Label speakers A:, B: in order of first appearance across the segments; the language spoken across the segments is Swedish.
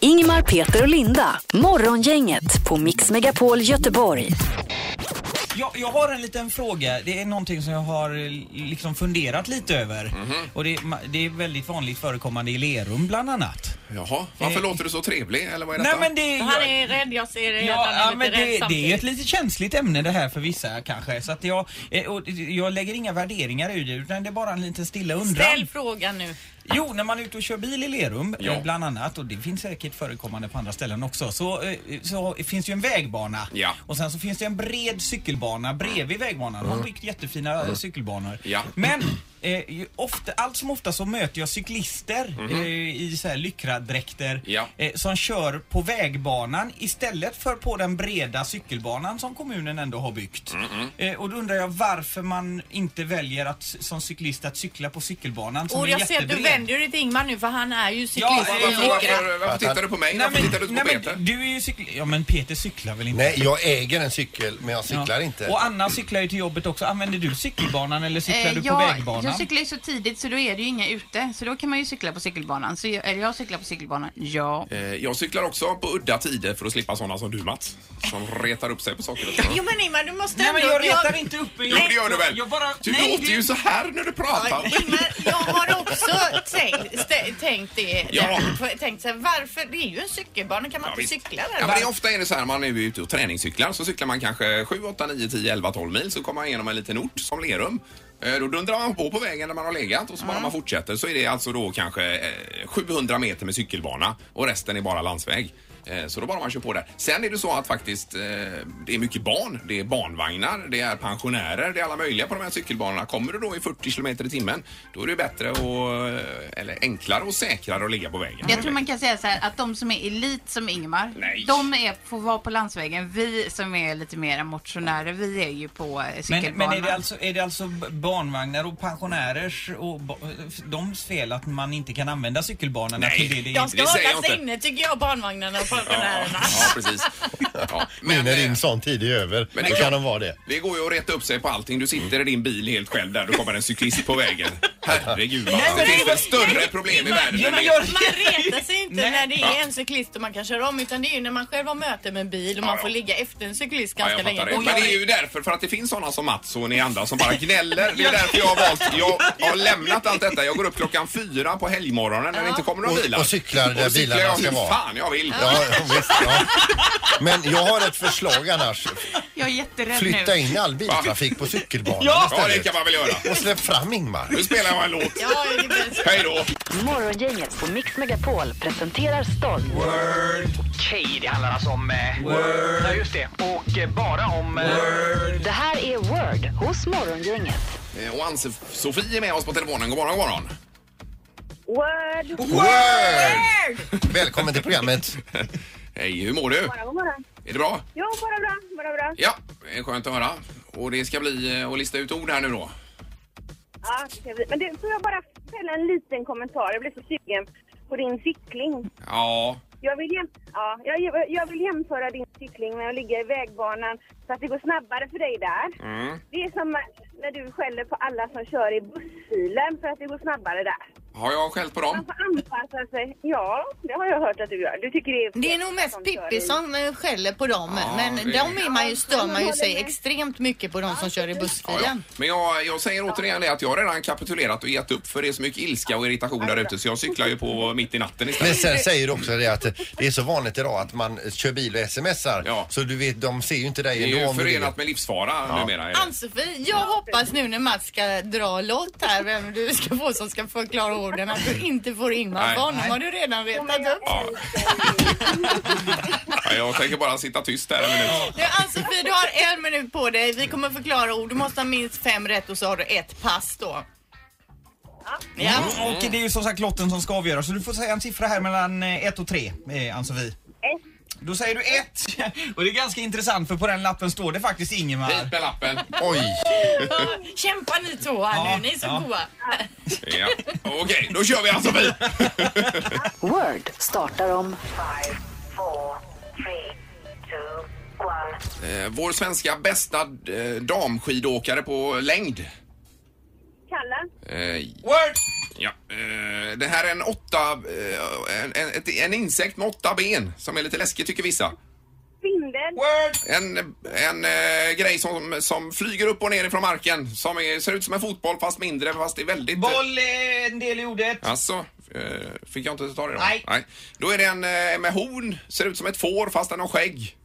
A: Ingemar, Peter och Linda. Morgongänget på Mix Megapol Göteborg.
B: Jag, jag har en liten fråga. Det är någonting som jag har eh, liksom funderat lite över. Och det, ma- det är väldigt vanligt förekommande i Lerum bland annat.
C: Jaha, varför
B: Eh.
C: låter du så trevlig? Eller vad är
B: Nej
C: detta?
B: men det...
D: Han
B: Jag,
D: är rädd, jag ser det.
B: Ja,
D: att
B: ja,
D: han är
B: men det,
D: lite rädd
B: det är ett
D: samtidigt.
B: lite känsligt ämne det här för vissa kanske. Så att jag, eh, och jag lägger inga värderingar i det utan det är bara en liten stilla undran.
D: Ställ frågan nu.
B: Jo, när man är ute och kör bil i Lerum
C: Ja.
B: eh, bland annat och det finns säkert förekommande på andra ställen också så, eh, så finns det ju en vägbana
C: Ja.
B: och sen så finns det en bred cykelbana bredvid vägbanan. De har byggt jättefina eh, cykelbanor.
C: Mm. Ja.
B: Men eh, ju ofta, allt som ofta så möter jag cyklister eh, i så här lyckradräkter
C: Mm. Ja.
B: eh, som kör på vägbanan istället för på den breda cykelbanan som kommunen ändå har byggt. Eh, och då undrar jag varför man inte väljer att som cyklist att cykla på cykelbanan som
D: Och
B: är
D: jag ser att du
B: jättebred.
D: vänder dig till Ingmar nu för han är ju
B: Ja,
D: cyklist.
B: eh,
C: varför,
B: jag-
C: varför, varför tittar du på mig?
B: Nej,
C: varför tittar du
B: men,
C: på
B: nej,
C: Peter?
B: men du är ju cyklist. Ja men Peter cyklar väl inte?
E: Nej, jag äger en cykel, men jag cyklar
B: Ja.
E: inte.
B: Och Anna cyklar ju till jobbet också. Använder du cykelbanan eller cyklar
F: Eh,
B: du på
F: jag,
B: vägbanan?
F: Jag cyklar ju så tidigt så då är det ju inga ute. Så då kan man ju cykla på cykelbanan. Så jag, eller jag cyklar på cykelbanan, ja.
C: Eh, Jag cyklar också på udda tider för att slippa sådana som du Mats. Som retar upp sig på saker och ting.
D: Jo men Ingmar, du måste
B: Nej men
D: ändå-
B: jag retar inte upp
C: Jo, det gör du väl?
B: Jag bara...
C: Du
B: nej,
C: låter ju så här när du pratar.
D: Ingmar, jag har också tänkt, stä- tänkt det.
C: Ja.
D: där. Tänkt så här, varför? Det är ju en cykelbana, kan man
C: Ja,
D: inte
C: visst.
D: cykla där?
C: Ja, men det är ofta är det så här, man är ju ute och träningscyklar så cyklar man kanske 7, 8, 9, 10, 11, 12 mil så kommer man igenom en liten ort som Lerum. Eh, Då dundrar man på på vägen där man har legat och så bara man fortsätter så är det alltså då kanske eh, 700 meter med cykelbana och resten är bara landsväg. Eh, Så då bara man kör på där. Sen är det så att faktiskt eh, det är mycket barn, det är barnvagnar, det är pensionärer, det är alla möjliga på de här cykelbanorna. Kommer du då i 40 kilometer i timmen då är det bättre och, eh, eller enklare och säkrare att ligga på vägen.
F: Jag tror man kan säga så här att de som är elit som Ingmar,
C: Nej.
F: de är, får vara på landsvägen. Vi som är lite mer motionärer, vi är ju på eh,
B: Men,
F: cykelbanan.
B: men är, det alltså, är det alltså b- barnvagnar och pensionärers och ba- doms fel att man inte kan använda cykelbanorna
C: Nej.
B: till det det är?
D: De
C: det
D: ska
C: säger jag
D: hålla sig
C: inte.
D: inne tycker jag, barnvagnarna och
C: Ja,
D: pensionärerna.
C: ja, precis. Ja,
E: Nu
C: men,
E: när
C: eh,
E: din sån tid är över,
C: Men
E: men då
C: det-
E: kan de vara det.
C: det går ju att reta upp sig på allting. Du sitter i din bil helt själv där. Då kommer en cyklist på vägen. Herregud, vad det
B: men-
C: finns väl större problem i världen
B: Ja,
C: än
B: men
C: det.
B: jag
D: Man retar sig inte
B: Nej.
D: när det
C: Ja.
D: är en cyklist och man kan köra om utan det är ju när man själv har möte med en bil och
C: Ja,
D: man
C: ja.
D: får ligga efter en cyklist
C: Ja,
D: ganska
C: jag
D: länge.
C: fattar det.
D: Och
C: Men det är ju därför, för att det finns sådana som Mats och ni andra som bara gnäller. Det är därför jag har valt, jag har lämnat allt detta. Jag går upp klockan fyra på helgmorgonen när det inte kommer några
E: Och-
C: bilar.
E: och cyklar där
C: Och cyklar
E: bilarna
C: jag
E: ska
C: hur
E: vara.
C: fan jag vill.
E: Ja, visst, ja. Men jag har ett förslag annars.
F: Jag är jätterädd
E: Flytta
F: nu.
E: in all biltrafik på cykelbanan
C: Ja, det
E: istället.
C: kan man väl göra.
E: Och släpp fram Ingmar.
C: Nu spelar jag en låt.
D: Ja, det är bäst.
C: Hej då!
A: Morgongänget på Mix Megapol presenterar stolt.
G: Okej, det handlar alltså om... Eh, Word. Ja, just det. Och eh, bara om... Eh,
A: Det här är Word hos Morgongänget.
C: Eh, Och Ann-Sofie är med oss på telefonen. God morgon, god morgon.
H: Word!
E: Word! Välkommen till programmet.
C: Hej, hur mår du?
H: God morgon.
C: Är det bra?
H: Jo, bara bra, bara bra.
C: Ja, det är skönt att höra. Och det ska bli eh, att lista ut ord här nu då.
H: Ja, det ska bli- men du, får jag bara fälla en liten kommentar? Jag blir så sugen på din cykling.
C: Ja,
H: Jag vill, jäm... ja, jag, jag vill jämföra din cykling med att ligga i vägbanan så att det går snabbare för dig där. Det är som när du skäller på alla som kör i bussfilen för att det går snabbare där.
C: har jag skällt på
H: Man
C: dem?
H: får anpassa sig. Ja, det har jag hört att du gör. Du tycker det är...
D: Det är nog mest
H: som kör
D: Pippi
H: i-
D: som eh, skäller på dem.
C: Ja,
D: men
C: det-
D: de är man ju, stör man ju sig
H: Ja, men-
D: extremt mycket på de som kör i
C: Ja, ja.
D: bussfilen.
C: Men jag, jag säger återigen det att jag har redan kapitulerat och gett upp för det är så mycket ilska och irritation där ute så jag cyklar ju på mitt i natten
E: Men
C: istället.
E: sen säger du också det att det är så vanligt idag att man kör bil och smsar.
C: Ja.
E: Så du vet, de ser ju inte
C: Det
E: dig
C: är
E: ändå
C: ju
E: om du
C: förenat
E: ligger.
C: med livsfara numera. Är det.
D: Ann-Sofie, jag hoppas nu när Mats ska dra lott här vem du ska få som ska förklara orden att du inte får Ingmar
C: Nej.
D: för honom har du redan retat upp.
C: Ja. Ja, jag tänker bara sitta tyst där en minut.
D: Nu Ann-Sofie, du har en minut på dig. Vi kommer förklara ord. Du måste ha minst fem rätt och så har du ett pass då. Ja.
B: Mm, Och det är ju som sagt lotten som ska avgöra så du får säga en siffra här mellan 1 och 3, eh, Ann-Sofie.
H: Ett.
B: Då säger du 1 och det är ganska intressant för på den lappen står det faktiskt Ingemar.
C: Hit med lappen.
E: Oj!
D: Kämpa ni två här
B: Ja,
D: nu, ni är så
B: ja.
D: goa.
C: Ja. Okej, då kör vi alltså vi.
A: Word startar om
C: Eh, Vår svenska bästa eh, damskidåkare på längd.
H: Kalla.
C: Eh,
B: Word!
C: Ja, eh, det här är en åtta... eh, En, en, ett- en insekt med åtta ben som är lite läskig tycker vissa.
H: Spindel.
B: Word!
C: En, en eh, grej som, som flyger upp och ner ifrån marken som är, ser ut som en fotboll fast mindre fast det är väldigt...
B: Boll är en del i ordet.
C: Alltså, eh, fick jag inte ta det då?
B: Nej.
C: Då är det en eh, med horn, ser ut som ett får fast den har skägg.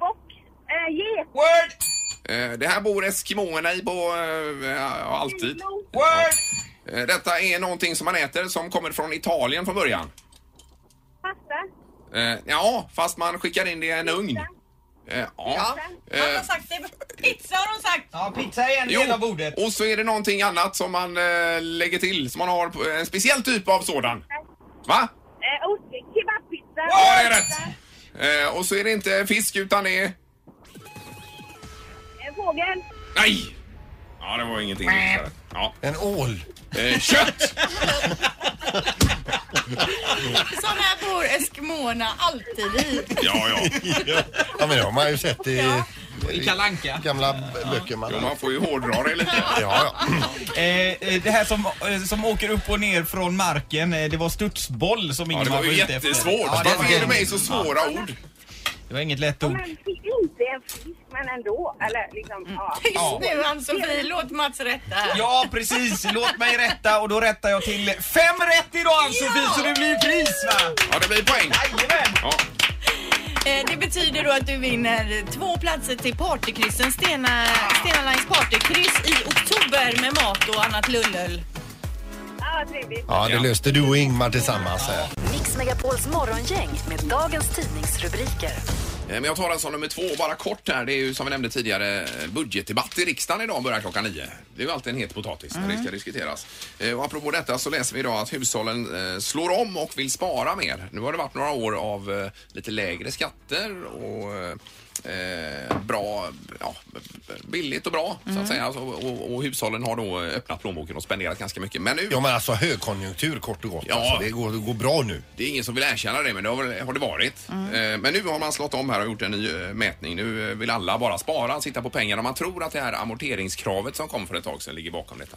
H: Bock. Eh, Get.
B: Word!
C: Eh, det här bor eskimåerna i på eh, ja, alltid.
H: Flod.
B: Word!
C: Eh, detta är någonting som man äter som kommer från Italien från början.
H: Pasta.
C: Eh, ja, fast man skickar in det i en ugn. Eh, ja.
D: Ja. Han har
C: Eh,
D: sagt det. Pizza har hon sagt.
B: Ja, pizza är en del av
C: Jo,
B: ordet.
C: och så är det någonting annat som man eh, lägger till, som man har på- en speciell typ av sådan. Va?
H: Eh, ost. Kebabpizza.
C: Ja, det är rätt! Eh, och så är det inte fisk utan det är...
H: Eh, fågel.
C: Nej! Ja, det var ingenting. Ja.
E: En ål.
C: Eh, kött!
D: Sån här bor eskimåerna alltid i.
C: Ja, ja.
E: Ja, men det har man ju sett i
B: I Kalanka.
E: gamla b- böcker. Man...
C: Jo, man får ju hårdra det lite.
E: Ja, ja.
B: Eh, eh, det här som, eh, som åker upp och ner från marken, eh, det var studsboll som
C: Ja,
B: Ingemar
C: det var ju
B: ute efter.
C: jättesvårt.
B: Ja, det,
C: Varför ger du
B: var,
C: mig så svåra ord?
B: det var inget lätt ord.
H: Men inte en fisk, men ändå. Eller liksom, ja.
D: Tyst nu Ann-Sofie, låt Mats rätta här.
B: Ja, precis. Låt mig rätta och då rättar jag till fem rätt idag Ann-Sofie,
D: Ja!
B: så det blir pris va?
C: Ja, det blir poäng.
B: Jajamän!
C: Ja.
D: Eh, Det betyder då att du vinner två platser till partykryssen, Stena, Stena Lines partykryss i oktober med mat och annat lullull.
H: Ja, trevligt.
E: ja, det löste du och Ingmar tillsammans här.
A: Mix Megapols morgongäng med dagens tidningsrubriker.
C: Eh, Men jag tar den som nummer två, bara kort här. Det är ju som vi nämnde tidigare eh, budgetdebatt i riksdagen idag börjar klockan nio. Det är ju alltid en het potatis när det ska diskuteras. Eh, Och apropå detta så läser vi idag att hushållen eh, slår om och vill spara mer. Nu har det varit några år av eh, lite lägre skatter och eh, eh, bra, ja, billigt och bra så att säga. Alltså, och, och hushållen har då öppnat plånboken och spenderat ganska mycket. Men nu
E: Ja, men alltså högkonjunktur kort och gott.
C: Ja.
E: Alltså, det, går, det går bra nu.
C: Det är ingen som vill erkänna det, men det har, väl- har det varit.
D: Mm.
C: Eh, Men nu har man slått om här och gjort en ny eh, mätning. Nu eh, vill alla bara spara, sitta på pengarna. Man tror att det här amorteringskravet som kom för ett tag sedan ligger bakom detta.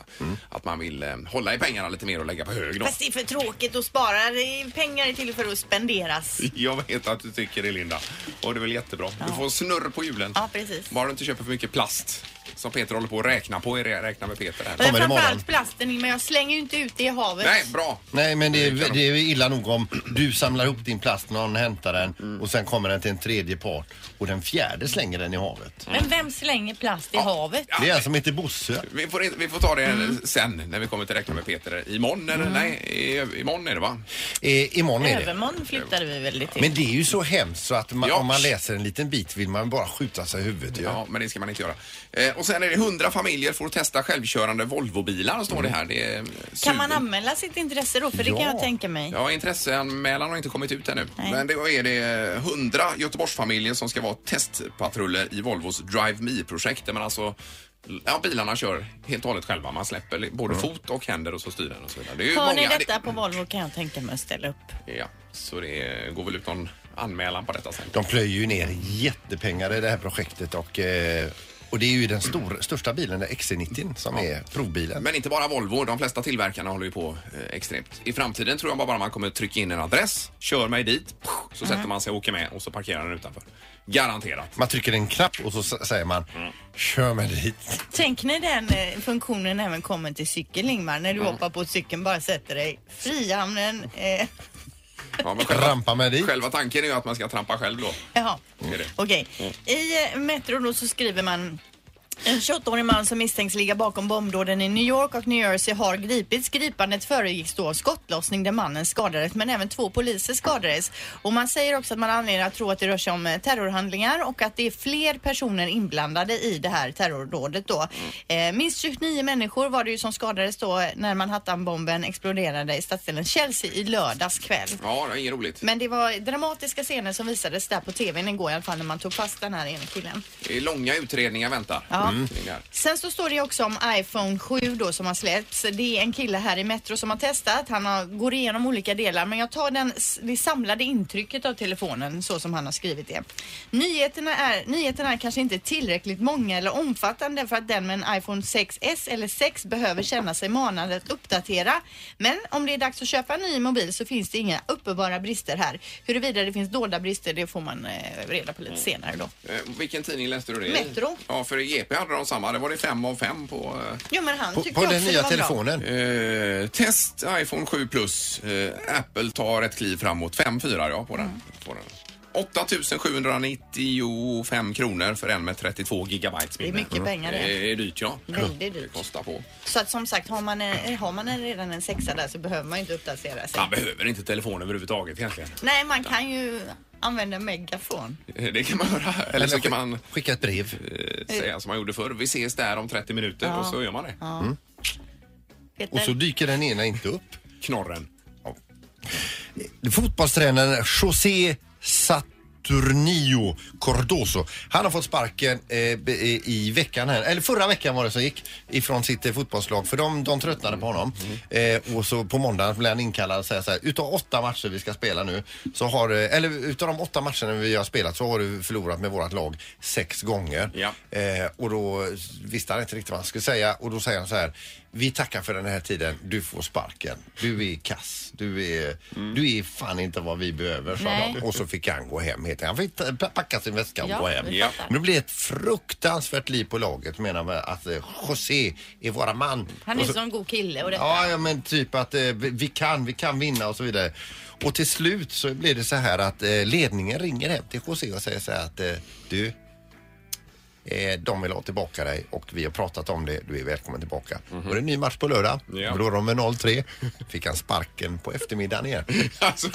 C: Att man vill eh, hålla i pengarna lite mer och lägga på hög då.
D: Fast det är för tråkigt att spara. Det är- Pengar är till för att spenderas.
C: Jag vet att du tycker det, Linda. Och det är väl jättebra. Du får snurr på hjulen.
D: Ja, precis.
C: Bara du inte köper för mycket plast. Som Peter håller på att räkna på. Räkna med Peter här.
D: Men
E: Kommer imorgon.
D: framförallt plasten, men jag slänger ju inte ut det i havet.
C: Nej, bra.
E: Nej, men det är, det är illa nog om du samlar ihop din plast, någon hämtar den
C: Mm.
E: och sen kommer den till en tredje part och den fjärde slänger den i havet.
D: Men vem slänger plast i havet?
E: Det är en som heter Bosse.
C: Vi får, in- vi får ta det
D: Mm.
C: sen när vi kommer till räkna med Peter. Imorgon, eller nej, i, imorgon är det va?
E: Eh, imorgon är det.
D: Övermorgon flyttade vi väl det till.
E: Men det är ju så hemskt så att man,
C: Ja.
E: om man läser en liten bit vill man bara skjuta sig i huvudet. ju.
C: Ja, men det ska man inte göra. Eh, och sen är det 100 familjer får testa självkörande Volvobilar, står det här. Det är, eh,
D: Kan man
C: suger.
D: anmäla sitt intresse då? För det kan
E: Ja.
D: jag tänka mig.
C: Ja, intresseanmälan har inte kommit ut ännu.
D: Nej.
C: Men då är det 100 Göteborgsfamiljer som ska vara testpatruller i Volvos Drive Me-projekt där man alltså Ja, bilarna kör helt och hållet själva. Man släpper li- både fot och händer och så styr den och så vidare. Det är ju
D: Mm. Hör ni
C: många-
D: detta på Volvo kan jag tänka mig att ställa upp.
C: Det, ja, så det eh, går väl ut någon anmälan på detta sen.
E: De plöjer ju ner jättepengar i det här projektet och, eh, och det är ju den stor, största bilen, den XC90 som är provbilen.
C: Men inte bara Volvo, de flesta tillverkarna håller ju på eh, extremt. I framtiden tror jag bara man kommer trycka in en adress, kör mig dit, så sätter
D: Mm.
C: man sig och åker med och så parkerar den utanför. Garanterat.
E: Man trycker en knapp och så s- säger man
C: Mm.
E: kör mig dit.
D: Tänk när den eh, funktionen även kommer till cykeln Ingmar. När du
E: Mm.
D: hoppar på cykeln bara sätter dig. Frihamnen. Eh,
C: Ja, men själva,
E: Rampa mig dit.
C: själva tanken är ju att man ska trampa själv då.
D: jaha.
C: Är det.
D: Okej.
E: Mm.
D: I eh, Metro då så skriver man en 28-årig man som misstänks ligga bakom bombdåden i New York och New Jersey har gripits. Gripandet föregicks då av skottlossning där mannen skadades men även två poliser skadades. Och man säger också att man har anledning att tro att det rör sig om eh, terrorhandlingar och att det är fler personer inblandade i det här terrordådet då. Eh, minst 29 människor var det ju som skadades då eh, när Manhattanbomben exploderade i stadsdelen Chelsea i lördags kväll.
C: Ja, det är inget roligt.
D: Men det var dramatiska scener som visades där på tvn igår i alla fall när man tog fast den här ene killen.
C: Det är långa utredningar väntar. Mm.
D: Ja, Mm.
C: Det där.
D: Sen så står det också om iPhone 7 då som har släppts. Det är en kille här i Metro som har testat. Han har, går igenom olika delar men jag tar den, s- det samlade intrycket av telefonen så som han har skrivit det. Nyheterna är, nyheterna är kanske inte tillräckligt många eller omfattande för att den med en iPhone 6S eller 6 behöver känna sig manad att uppdatera. Men om det är dags att köpa en ny mobil så finns det inga uppenbara brister här. Huruvida det finns dolda brister det får man eh, reda på lite senare då.
C: Eh, Vilken tidning läste du det i?
D: Metro.
C: Ja, för i GP hade de samma. Det var det fem av fem på... eh,
D: Jo men han
E: På,
D: tyckte
E: på
D: också
E: den
D: det
E: nya
D: var bra.
E: telefonen?
C: Eh, test iPhone 7 Plus. Eh, Apple tar ett kliv framåt. 5-4 ja, på den.
D: Mm.
C: På den. 8 795 kronor för en med 32 gigabytes
D: är
C: minne. Mm.
D: mycket pengar, det.
C: Det är dyrt ja.
D: Väldigt
C: Det
D: dyrt.
C: kostar på.
D: Så att som sagt, har man, en, har man en, redan en sexa där så behöver man ju inte uppdatera sig.
C: Man behöver inte telefon överhuvudtaget egentligen.
D: Nej, man kan ju använda en megafon.
C: Eh, Det kan man höra. Eller så kan man
E: Skicka ett brev.
C: eh, säga som man gjorde förr. Vi ses där om 30 minuter och så gör man det.
D: Peter.
E: Och så dyker den ena inte upp.
C: Knorren.
E: Fotbollstränaren José Saturnio Cardoso. Han har fått sparken eh, be- eh, i veckan här, eller förra veckan var det som gick ifrån sitt eh, fotbollslag för de, de tröttnade på honom. Eh, och så på måndagen blev han inkallad och säger så här, utav åtta matcher vi ska spela nu så har, eh, eller utav de åtta matcherna vi har spelat så har du förlorat med vårt lag sex gånger.
C: Ja.
E: Eh, och då visste han inte riktigt vad han skulle säga och då säger han så här. Vi tackar för den här tiden. Du får sparken. Du är kass. Du är, du är fan inte vad vi behöver, sa
D: Mm. Nej.
E: de. Och så fick han gå hem. helt enkelt. Han fick ta- packa sin väska och
D: Ja,
E: gå hem.
D: vi
C: Ja.
D: fattar.
E: Men det blir ett fruktansvärt liv på laget menar man att eh, José är våra man.
D: Han är
E: Och
D: så...
E: så-
D: som en god kille och det.
E: Ja, ja, men typ att eh, vi, vi kan, vi kan vinna och så vidare. Och till slut så blir det så här att eh, ledningen ringer hem till José och säger så här att eh, du, eh, de vill ha tillbaka dig och vi har pratat om det, du är välkommen tillbaka. Och det är en ny match på lördag,
C: Mhm. Ja.
E: förlorar de med 0-3. Fick han sparken på eftermiddagen igen.
C: Alltså.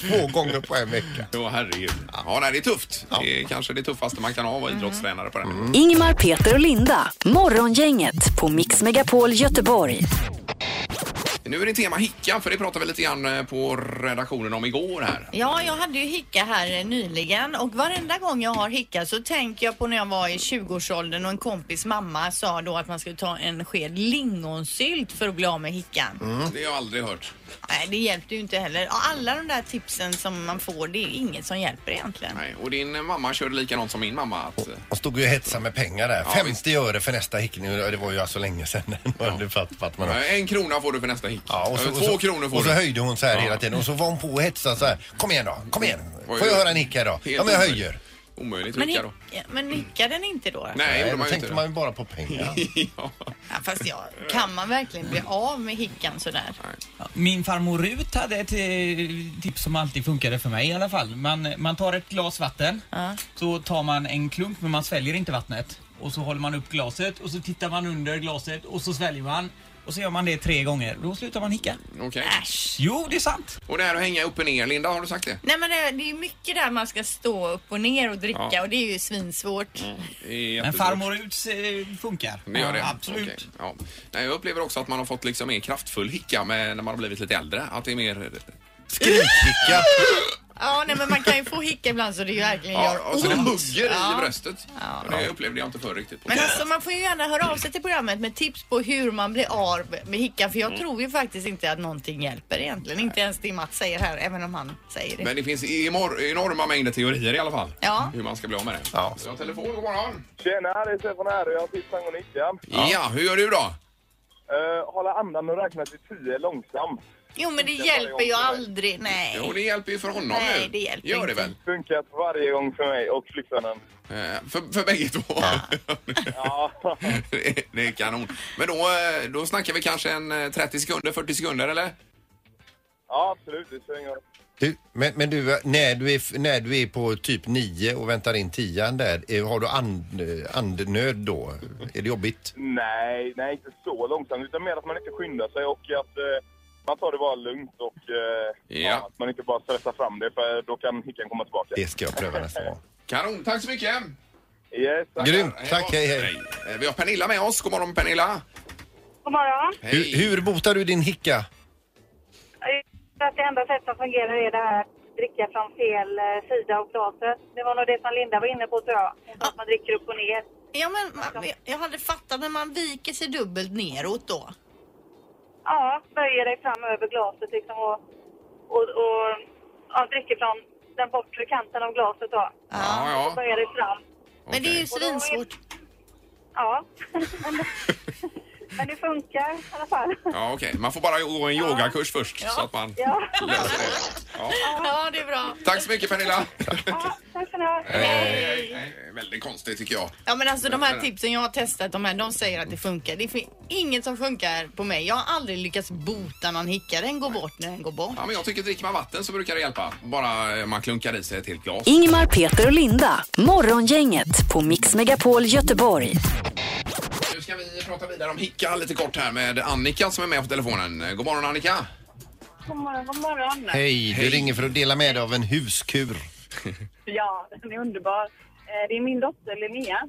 E: Två gånger på en vecka.
C: Ja, herregud. Ja, nej, det är tufft. Det är kanske det tuffaste man kan ha att
D: Mm.
C: vara idrottstränare på den nivån.
A: Ingmar, Peter och Linda. Morgongänget på Mix Megapol Göteborg.
C: Nu är det tema hicka, för det pratade vi lite grann eh, på redaktionen om igår här.
D: Ja, jag hade ju hicka här eh, nyligen och varenda gång jag har hicka så tänker jag på när jag var i 20-årsåldern och en kompis mamma sa då att man skulle ta en sked lingonsylt för att bli av med hickan.
E: Mm.
C: Det har jag aldrig hört.
D: Nej, det hjälpte ju inte heller. Ja, Alla de där tipsen som man får, det är inget som hjälper egentligen.
C: Nej. Och din eh, mamma körde likadant som min mamma. Att, eh,
E: Och stod ju och hetsade med pengar där.
C: Ja,
E: 50 öre för nästa hickning. Det var ju alltså länge sedan. Nu fatt- fattar man.
C: eh, en krona får du för nästa hick.
E: Ja, och så,
C: Eh,
E: och
C: Två
E: så,
C: kronor får
E: Och så
C: du.
E: höjde hon så här
C: Ja.
E: hela tiden och så var hon på och hetsade så här. Kom igen då, kom igen.
C: Oj,
E: Får jag
C: oj.
E: höra en nick här då? Ja men jag
C: omöjligt.
E: höjer.
C: Omöjligt att
D: Men,
C: hicka då. Mm.
D: hick- men nickar den inte då?
C: Nej,
E: Nej,
C: gjorde
E: då
C: man ju
E: tänkte
C: inte.
E: man ju bara på pengar.
C: ja.
D: Ja, fast jag, kan man verkligen bli av med hickan sådär?
B: Min farmor Rut hade ett eh, tips som alltid funkade för mig i alla fall. Man, man tar ett glas vatten, så tar man en klunk men man sväljer inte vattnet. Och så håller man upp glaset och så tittar man under glaset och så sväljer man. Och så gör man det tre gånger. Då slutar man hicka.
C: Okej.
D: Äsch.
B: Jo, det är sant.
C: Och det här att hänga upp och ner, Linda, har du sagt det?
D: Nej men det, det är mycket där man ska stå upp och ner och dricka
C: Ja. Mm.
D: och det är ju svinsvårt.
C: Det är
B: Men
C: jättesvårt.
B: farmor Ruts eh, funkar.
C: Det gör det?
B: Absolut.
C: Okej. Ja. Nej, jag upplever också att man har fått liksom mer kraftfull hicka med, när man har blivit lite äldre. Att det är mer...
E: Skrikhicka.
D: Ja, nej men man kan ju få hicka ibland så det ju verkligen
C: Ja,
D: gör
C: och
D: ont.
E: Oh,
C: så det hugger
D: Ja.
C: i bröstet. Och Det upplevde jag inte förr riktigt. På
D: Men
C: det.
D: alltså man får ju gärna höra av sig till programmet med tips på hur man blir av med hickan för jag tror ju faktiskt inte att någonting hjälper egentligen. Inte ens det Mats säger här, även om han säger det.
C: Men det finns emor- enorma mängder teorier i alla fall.
D: Ja.
C: Hur man ska bli av med det.
E: Ja.
C: Så jag har telefon, god morgon.
I: Tjena, det är Stefan här och jag har tips angående hickan.
C: Ja. hur gör du då?
I: Uh, hålla andan och räkna till tio långsamt.
D: Jo men det hjälper ju aldrig. Nej.
C: Jo, det hjälper ju för honom
D: Nej,
C: nu.
D: det hjälper
C: Gör det
D: inte.
C: väl?
I: Funkat varje gång för mig och flickvännen.
C: Eh, för, för bägge två.
I: Ja,
C: det är- det är kanon. Men då, eh, då snackar vi kanske en eh, 30 sekunder, 40 sekunder eller?
I: ja absolut. Det spelar ingen roll.
E: Du, men, men du, när du, är, när du är på typ 9 och väntar in 10 där, eh, har du and, eh, andnöd då? Är det jobbigt?
I: Nej, nej, inte så långsamt. Utan mer att man inte skyndar sig och att eh, man tar det bara lugnt och eh,
C: Ja.
I: att man inte bara stressar fram det för då kan hickan komma tillbaka.
E: Det ska jag pröva nästa gång.
C: Kanon, tack så mycket!
I: Yes, tack.
E: Grymt,
C: Hej
E: tack,
C: då.
E: hej hej.
C: Eh, Vi har Pernilla med oss. God morgon Pernilla!
H: God morgon.
E: Hur, hur botar du din hicka?
H: För att det enda sätt som fungerar är det här att dricka från fel eh, sida av glaset. Det var nog det som Linda var inne på tror jag. Hon sa Att man dricker upp och ner.
D: Ja, men man, jag hade fattat, men man viker sig dubbelt neråt då.
H: Ja, böjer dig fram över glaset liksom och, och, och ja, dricker från den bortre kanten av glaset då.
C: Ja, ja.
H: Böjer dig fram.
D: Men det är ju
C: Okej.
D: svinsvårt.
H: Ja. Men, men det funkar i alla fall.
C: Ja, okej. Man får bara gå en yogakurs först så att man
H: Ja.
C: löser det. Ja.
D: Ja, det är bra.
C: Tack så mycket Pernilla!
H: ja tack ska ni ha.
C: Eh, Väldigt konstigt tycker jag.
D: Ja, men alltså de här tipsen jag har testat, de här, de säger att det funkar. Det finns inget som funkar på mig. Jag har aldrig lyckats bota någon hicka. Den går bort när den går bort.
C: Ja, men jag tycker dricker man vatten så brukar det hjälpa. Bara eh, man klunkar i sig ett helt glas.
A: Ingmar, Peter och Linda. Morgongänget på Mix Megapol Göteborg.
C: Nu ska vi prata vidare om hicka lite kort här med Annika som är med på telefonen. Eh, God morgon Annika!
H: God morgon, god morgon.
E: Hej, du ringer för att dela med dig av en huskur.
H: Ja, den är underbar. Eh, Det är min dotter Linnea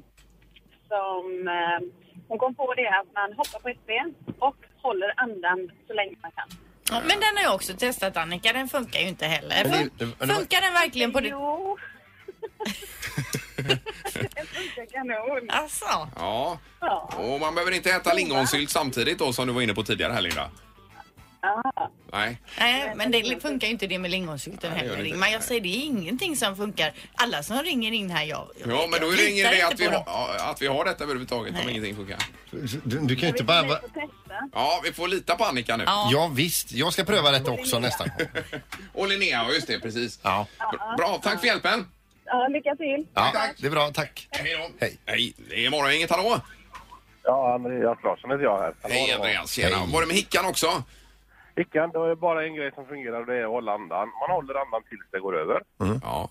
H: som eh, hon kom på det att man hoppar på ett ben och håller andan så länge man kan.
D: Ja, men den har jag också testat Annika, den funkar ju inte heller.
E: Men
D: Fun
E: det- men det-
D: funkar den verkligen på det?
H: Jo. det funkar kanon.
D: Alltså,
C: Ja,
H: Ja.
C: och man behöver inte äta lingonsylt samtidigt då som du var inne på tidigare här Linda.
H: Ja.
C: Nej,
D: nej, men det funkar ju inte det med lingonsylten
C: det gör det
D: heller.
C: inte.
D: Men jag säger det är ingenting som funkar. Alla som ringer in här, jag, jag
C: ja, men då
D: jag
C: är det ingen
D: litar
C: idé
D: inte
C: att vi,
D: på
C: har,
D: dem.
C: ja, att vi har detta överhuvudtaget om ingenting funkar.
E: Du, du kan ju inte bara...
H: Vi får testa.
C: Ja, vi får lita på Annika nu.
D: Ja.
E: Ja visst, jag ska pröva detta också nästa gång.
C: Och Linnea, ja, just det, precis.
E: Ja.
C: Bra, Bra, tack för hjälpen!
H: Ja, lycka till.
E: ja, det är bra, tack.
C: Hej då!
E: Hej.
C: Hej, det är morgon, inget hallå!
I: Ja, Andreas Larsson heter jag här.
C: Hej Andreas, tjena!
E: Hej.
C: Var det med hickan också?
I: Ickan, det är bara en grej som fungerar och det är att hålla andan. Man håller andan tills det går över.
C: Ja.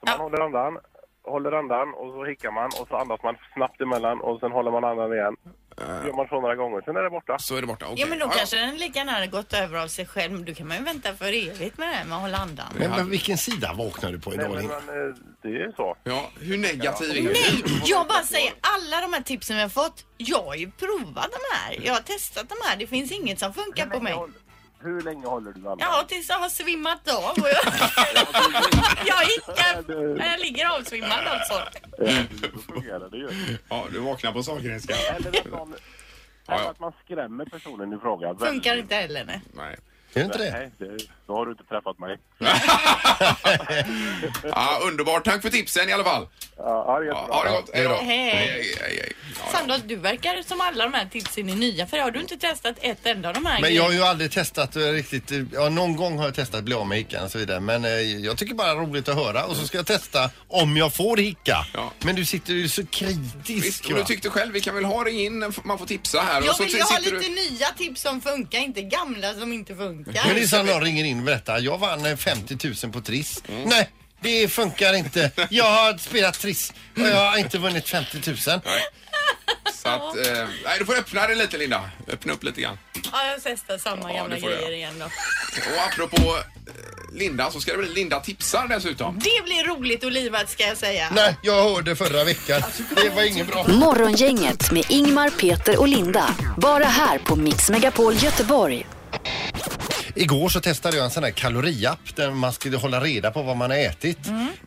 I: Så man håller andan, håller andan och så hickar man och så andas man snabbt emellan och sen håller man andan igen.
C: Eh.
I: Gör man så några gånger, sen är det borta.
C: Så är det borta, okej.
D: Ja men då
C: ja.
D: kanske den lika gärna hade gått över av sig själv. Men Då kan man ju vänta för evigt med det här med att hålla andan.
E: Men, men vilken sida vaknar du på
I: Nej,
E: idag?
I: men
E: Lin?
I: man, eh, det är ju så.
C: Ja, hur negativ är du?
D: Nej, jag bara säger alla de här tipsen vi har fått. Jag har ju provat de här. Jag har testat de här. Det finns inget som funkar på mig.
I: håller- Hur länge håller du andan?
D: Ja, tills jag har svimmat av. Och jag jag hickar när jag ligger avsvimmad alltså.
I: Eh, Så fungerar det ju.
C: Ja, du vaknar på Sahlgrenska.
I: Eller att, någon,
C: Ja,
I: eller
C: ja.
I: att man skrämmer personen i fråga.
D: Funkar inte heller nej.
C: Nej.
E: Är det inte det?
I: Nej, det, då har du inte träffat mig.
C: Ja, underbart, tack för tipsen i alla fall.
I: Ja, ja, det är
C: Ja,
I: jättebra.
C: ha det gott, hej då.
D: Hej.
C: Hej, hej, hej. Ja, ja.
D: Sandra, du verkar som alla de här tipsen är nya för har du inte testat ett enda av de här
E: Men jag har
D: grejerna?
E: ju aldrig testat eh, riktigt. eh, Ja, någon gång har jag testat att bli av med hickan och så vidare. Men eh, jag tycker bara det är roligt att höra och så ska jag testa om jag får hicka.
C: Ja.
E: Men du sitter ju så kritisk.
C: Visst, och du
E: va?
C: tyckte själv, vi kan väl ha det in, man får tipsa här. och
D: Jag
C: så
D: vill ju ha
C: sitter
D: lite nya tips som funkar, inte gamla som inte funkar.
E: Men det är så att någon ringer in och berättar. Jag vann eh, 50 000 på Triss.
C: Mm.
E: Nej, det funkar inte. Jag har spelat Triss och jag har inte vunnit 50 000.
C: Så att, eh, nej, du får öppna det lite Linda. Öppna upp lite grann.
D: Ja, jag testar samma
C: Ja,
D: gamla
C: det får jag.
D: grejer igen då.
C: Och apropå eh, Linda så ska det bli Linda tipsar dessutom.
D: Det blir roligt och livat ska jag säga.
E: Nej, jag hörde förra veckan. Det var inget bra.
A: Morgongänget med Ingmar, Peter och Linda. Bara här på Mix Megapol Göteborg.
E: Igår så testade jag en sån här kaloriapp där man skulle hålla reda på vad man har ätit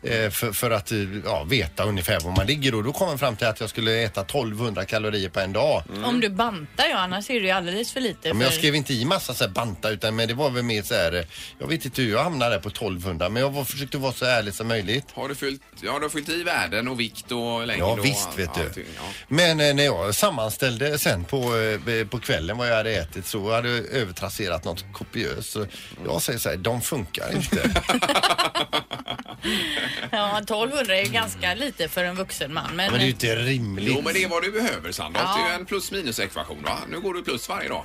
E: eh, för, för att eh, ja, veta ungefär var man ligger. Och då kom jag fram till att jag skulle äta 1200 kalorier på en dag.
D: Om du bantar ja, annars är det ju alldeles för lite.
E: Mm. Men jag
D: för-
E: skrev inte i massa så här banta utan men det var väl mer så här, eh, jag vet inte hur jag hamnade där på 1200 men jag var, försökte vara så ärlig som möjligt.
C: Har du fyllt, ja, du har fyllt i värden och vikt och längd
E: Ja
C: och
E: visst vet du.
C: allting, ja.
E: Men eh, när jag sammanställde sen på, eh, på kvällen vad jag hade ätit så hade jag övertrasserat något kopiöst. Så jag säger så här, de funkar inte.
D: Ja, 1200 är ju ganska lite för en vuxen man.
E: Men
D: Men,
E: det är ju inte rimligt.
C: Jo men det är vad du behöver Sandra.
D: Ja.
C: Det är ju en plus minus ekvation va. Nu går du plus varje dag.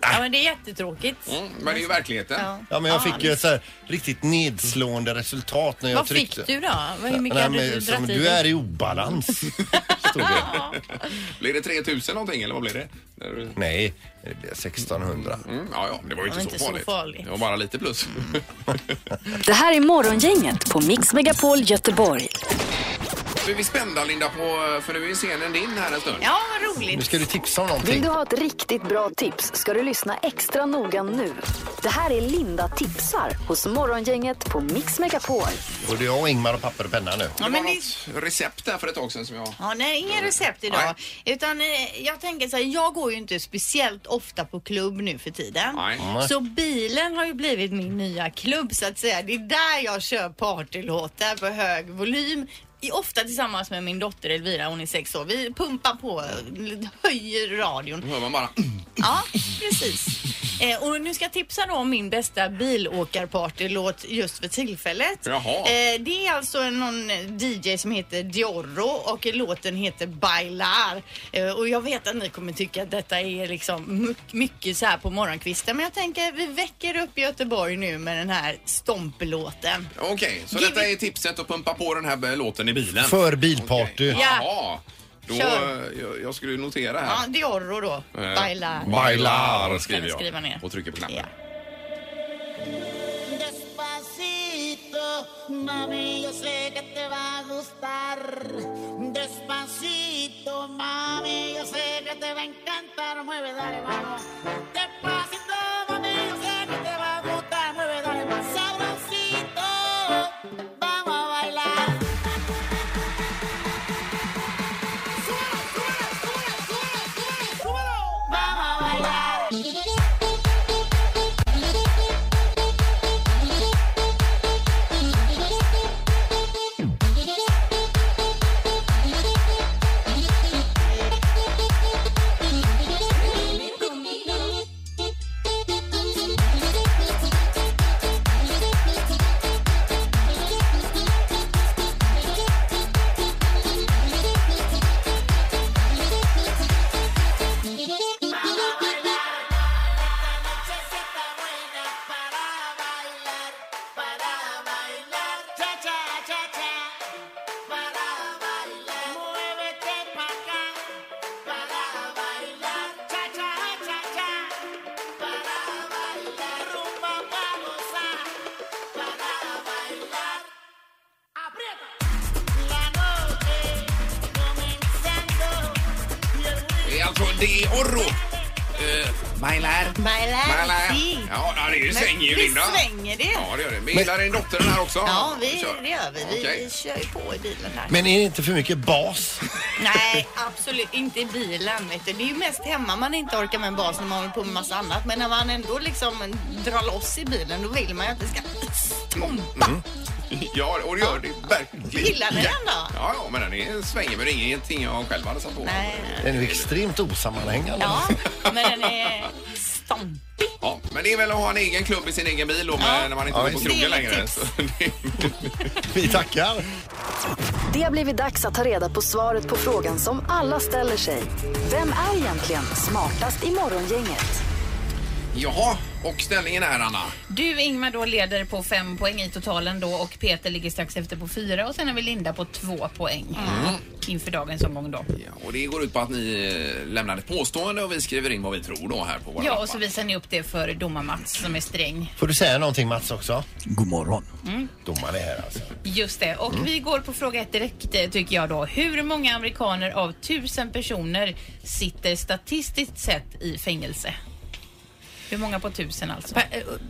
D: ja, men det är jättetråkigt.
C: Mm, men det är ju verkligheten.
D: Ja.
E: Ja men jag
D: Ah,
E: fick ju ett så här riktigt nedslående resultat när jag
D: Vad
E: tryckte.
D: fick du då? Vad- Hur mycket hade du
E: som,
D: dragit i
E: du
D: dig?
E: är i obalans. Stod det.
C: Blir det 3000 någonting eller vad blir det? När du-
E: Nej, det blev 1600.
C: Mm, ja, ja, det var ju inte,
D: var inte
C: så,
D: så
C: farligt.
D: farligt. Mm.
C: Det var bara lite plus.
A: Det här är Morgongänget på Mix Megapol Göteborg.
C: Nu är vi spända Linda på, för nu är scenen din här en stund.
D: Ja, vad roligt.
E: Nu ska du tipsa om
A: Vill
E: någonting.
A: du ha ett riktigt bra tips ska du lyssna extra noga nu. Det här är Linda tipsar hos Morgongänget på Mix Megapol.
E: Både jag och Ingmar och papper och penna nu.
D: Ja,
C: Det var
D: men det,
C: något recept där för ett tag sedan som jag...
D: Ja, nej, inga recept idag. Utan eh, jag tänker så här, jag går ju inte speciellt ofta på klubb nu för tiden.
C: Nej.
D: Så bilen har ju blivit min nya klubb så att säga. Det är där jag kör partylåtar på hög volym. I- Ofta tillsammans med min dotter Elvira, hon är sex år. Vi pumpar på, eh, höjer radion.
C: Nu hör man bara...
D: Ja, precis. Eh, och nu ska jag tipsa då om min bästa bilåkarpartylåt just för tillfället.
C: Jaha.
D: Eh, det är alltså någon DJ som heter Diorro och låten heter Bailar. Eh, och jag vet att ni kommer tycka att detta är liksom my- mycket så här på morgonkvisten. Men jag tänker vi väcker upp Göteborg nu med den här stomplåten.
C: Okej, så
D: Give
C: detta
D: it-
C: är tipset att pumpa på den här eh, låten i bilen.
E: För bilparty.
C: Okej.
D: Ja.
C: Jaha. Då,
D: Kör.
C: eh, jag, jag skulle notera
D: Ja,
C: här.
D: Diorro då.
C: Eh,
D: Bailar.
C: Bailar
D: Ska
C: skriver
D: ni
C: jag.
D: skriva ner?
C: Och trycker på knappen.
D: Ja.
J: Despacito, mami, yo sé que te va a gustar. Despacito, mami, yo sé que te va a encantar. Mueve, dale, vamos. Despacito, mami, yo sé que te va a gustar. Mueve, dale, vamos. Sabrosito, vamos a bailar. Súbelo, súbelo, súbelo, súbelo, súbelo, súbelo. Vamos a bailar.
C: Det är alltså De Orro. Eh, Bailar.
D: Bailar, sí.
C: Ja, ja, det är ju
D: Men
C: svänger ju
D: visst
C: Linda.
D: svänger det?
C: Ja, det gör det. Men gillar din dotter den här också?
D: Ja, vi,
C: kör.
D: det gör vi. Vi,
C: Okej.
D: vi kör ju på i bilen här.
E: Men är det inte för mycket bas?
D: Nej, absolut inte i bilen. Vet du. Det är ju mest hemma man inte orkar med en bas när man håller på med massa annat. Men när man ändå liksom drar loss i bilen då vill man ju att det ska stompa.
C: Ja, och det gör det verkligen.
D: Gillar ni den då?
C: Ja, ja, men den är svänger. Men det är ingenting jag själv hade satt på.
D: Nej, nej.
E: Den är ju extremt osammanhängande.
D: Ja, men eh, den är stompig.
C: Ja, men det är väl att ha en egen klubb i sin egen bil då, med,
D: Ja.
C: när man inte
E: Ja,
C: går på
E: visst.
C: krogen
D: Det är ett
C: längre.
D: tips.
C: Så det-
E: Vi tackar.
A: Det har blivit dags att ta reda på svaret på frågan som alla ställer sig. Vem är egentligen smartast i morgongänget?
C: Jaha, och ställningen är Anna?
F: Du Ingmar då leder på fem poäng i totalen då och Peter ligger strax efter på fyra och sen har vi Linda på två poäng inför dagens omgång då.
C: Ja, och det går ut på att ni eh, lämnar ett påstående och vi skriver in vad vi tror då här på våra
F: Ja,
C: lappar.
F: och så visar ni upp det för domar-Mats som är sträng.
E: Får du säga någonting Mats också?
B: God morgon.
D: Mm.
E: Domaren är här alltså.
F: Just det. Och vi går på fråga ett direkt eh, tycker jag då. Hur många amerikaner av tusen personer sitter statistiskt sett i fängelse? Hur många på tusen alltså?
D: eh,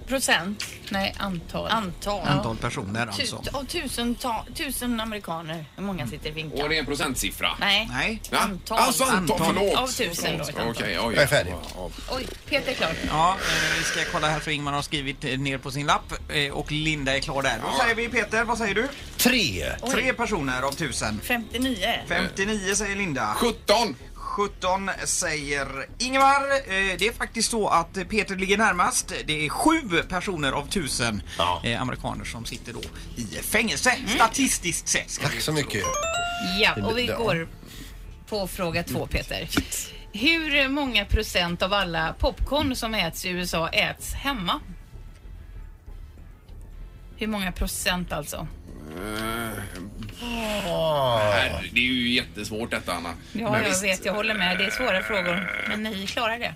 D: Procent,
F: Nej, antal.
D: antal.
B: Antal personer
D: Tu-
B: alltså.
D: av tusen, ta- tusen amerikaner. Hur många sitter i
C: Och
D: finkan?
C: det är en procentsiffra?
D: Nej.
B: Nej.
C: Va?
D: Antal.
C: Alltså antal,
B: Antal.
C: förlåt.
F: Av tusen då, ett
C: Okej,
F: antal.
C: okay, oj.
E: Jag är färdig.
C: Ja,
F: Oj, Peter är klar.
B: Ja, eh, vi ska kolla här för Ingmar har skrivit eh, ner på sin lapp eh, och Linda är klar där. Då säger vi Peter, vad säger du?
E: Tre.
B: Tre personer av tusen.
D: 59.
B: 59 säger Linda.
C: 17!
B: 17 säger Ingvar. Eh, Det är faktiskt så att Peter ligger närmast. Det är sju personer av tusen
E: Ja.
B: eh, amerikaner som sitter då i fängelse, statistiskt sett. Ska
E: Tack så mycket.
F: Ja, och vi
E: Ja.
F: går på fråga två, Peter. Hur många procent av alla popcorn som äts i USA äts hemma? Hur många procent alltså?
C: Herre, det är ju jättesvårt detta Anna.
F: Ja,
C: Men
F: jag
C: visst.
F: vet, jag håller med. Det är svåra frågor. Men ni klarar det.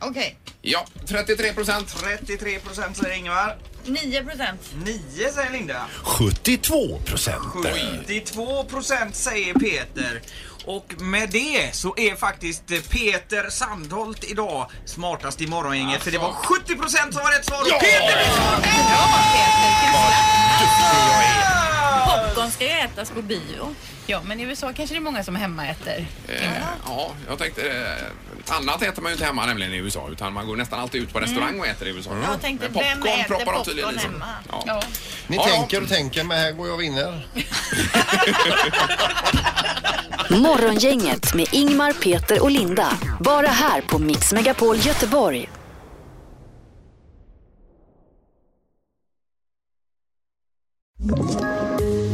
D: Okej.
C: Ja, 33 procent.
B: 33 procent säger Ingvar.
K: 9 procent.
B: 9 säger Linda.
L: 72 procent.
B: 72 procent säger Peter. Och med det så är faktiskt Peter Sandholt idag smartast i morgongänget för det var 70 procent som var rätt svar. och Peter blir smartast!
F: Popcorn ska ju ätas på bio. Ja, men i USA kanske det är många som hemma äter.
C: Eh, ja, jag tänkte... Eh, annat äter man ju inte hemma nämligen i USA utan man går nästan alltid ut på restaurang och äter i USA.
K: Jag tänkte,
C: Men popcorn
K: vem äter
C: proppar de
K: popcorn
C: tydligen i sig.
K: hemma?
C: Ja.
F: Ja.
L: Ni
C: Ja, ja.
L: tänker och tänker, men här går jag och vinner.
A: Morgongänget med Ingmar, Peter och Linda. Bara här på Mix Megapol Göteborg.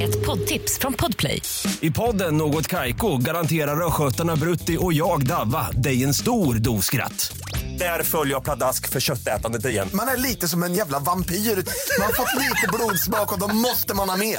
M: Ett poddtips från Podplay.
E: I podden Något Kaiko garanterar östgötarna Brutti och jag, Davva, dig en stor dos skratt. Där följer jag pladask för köttätandet igen.
N: Man är lite som en jävla vampyr. Man har fått lite blodsmak och då måste man ha mer.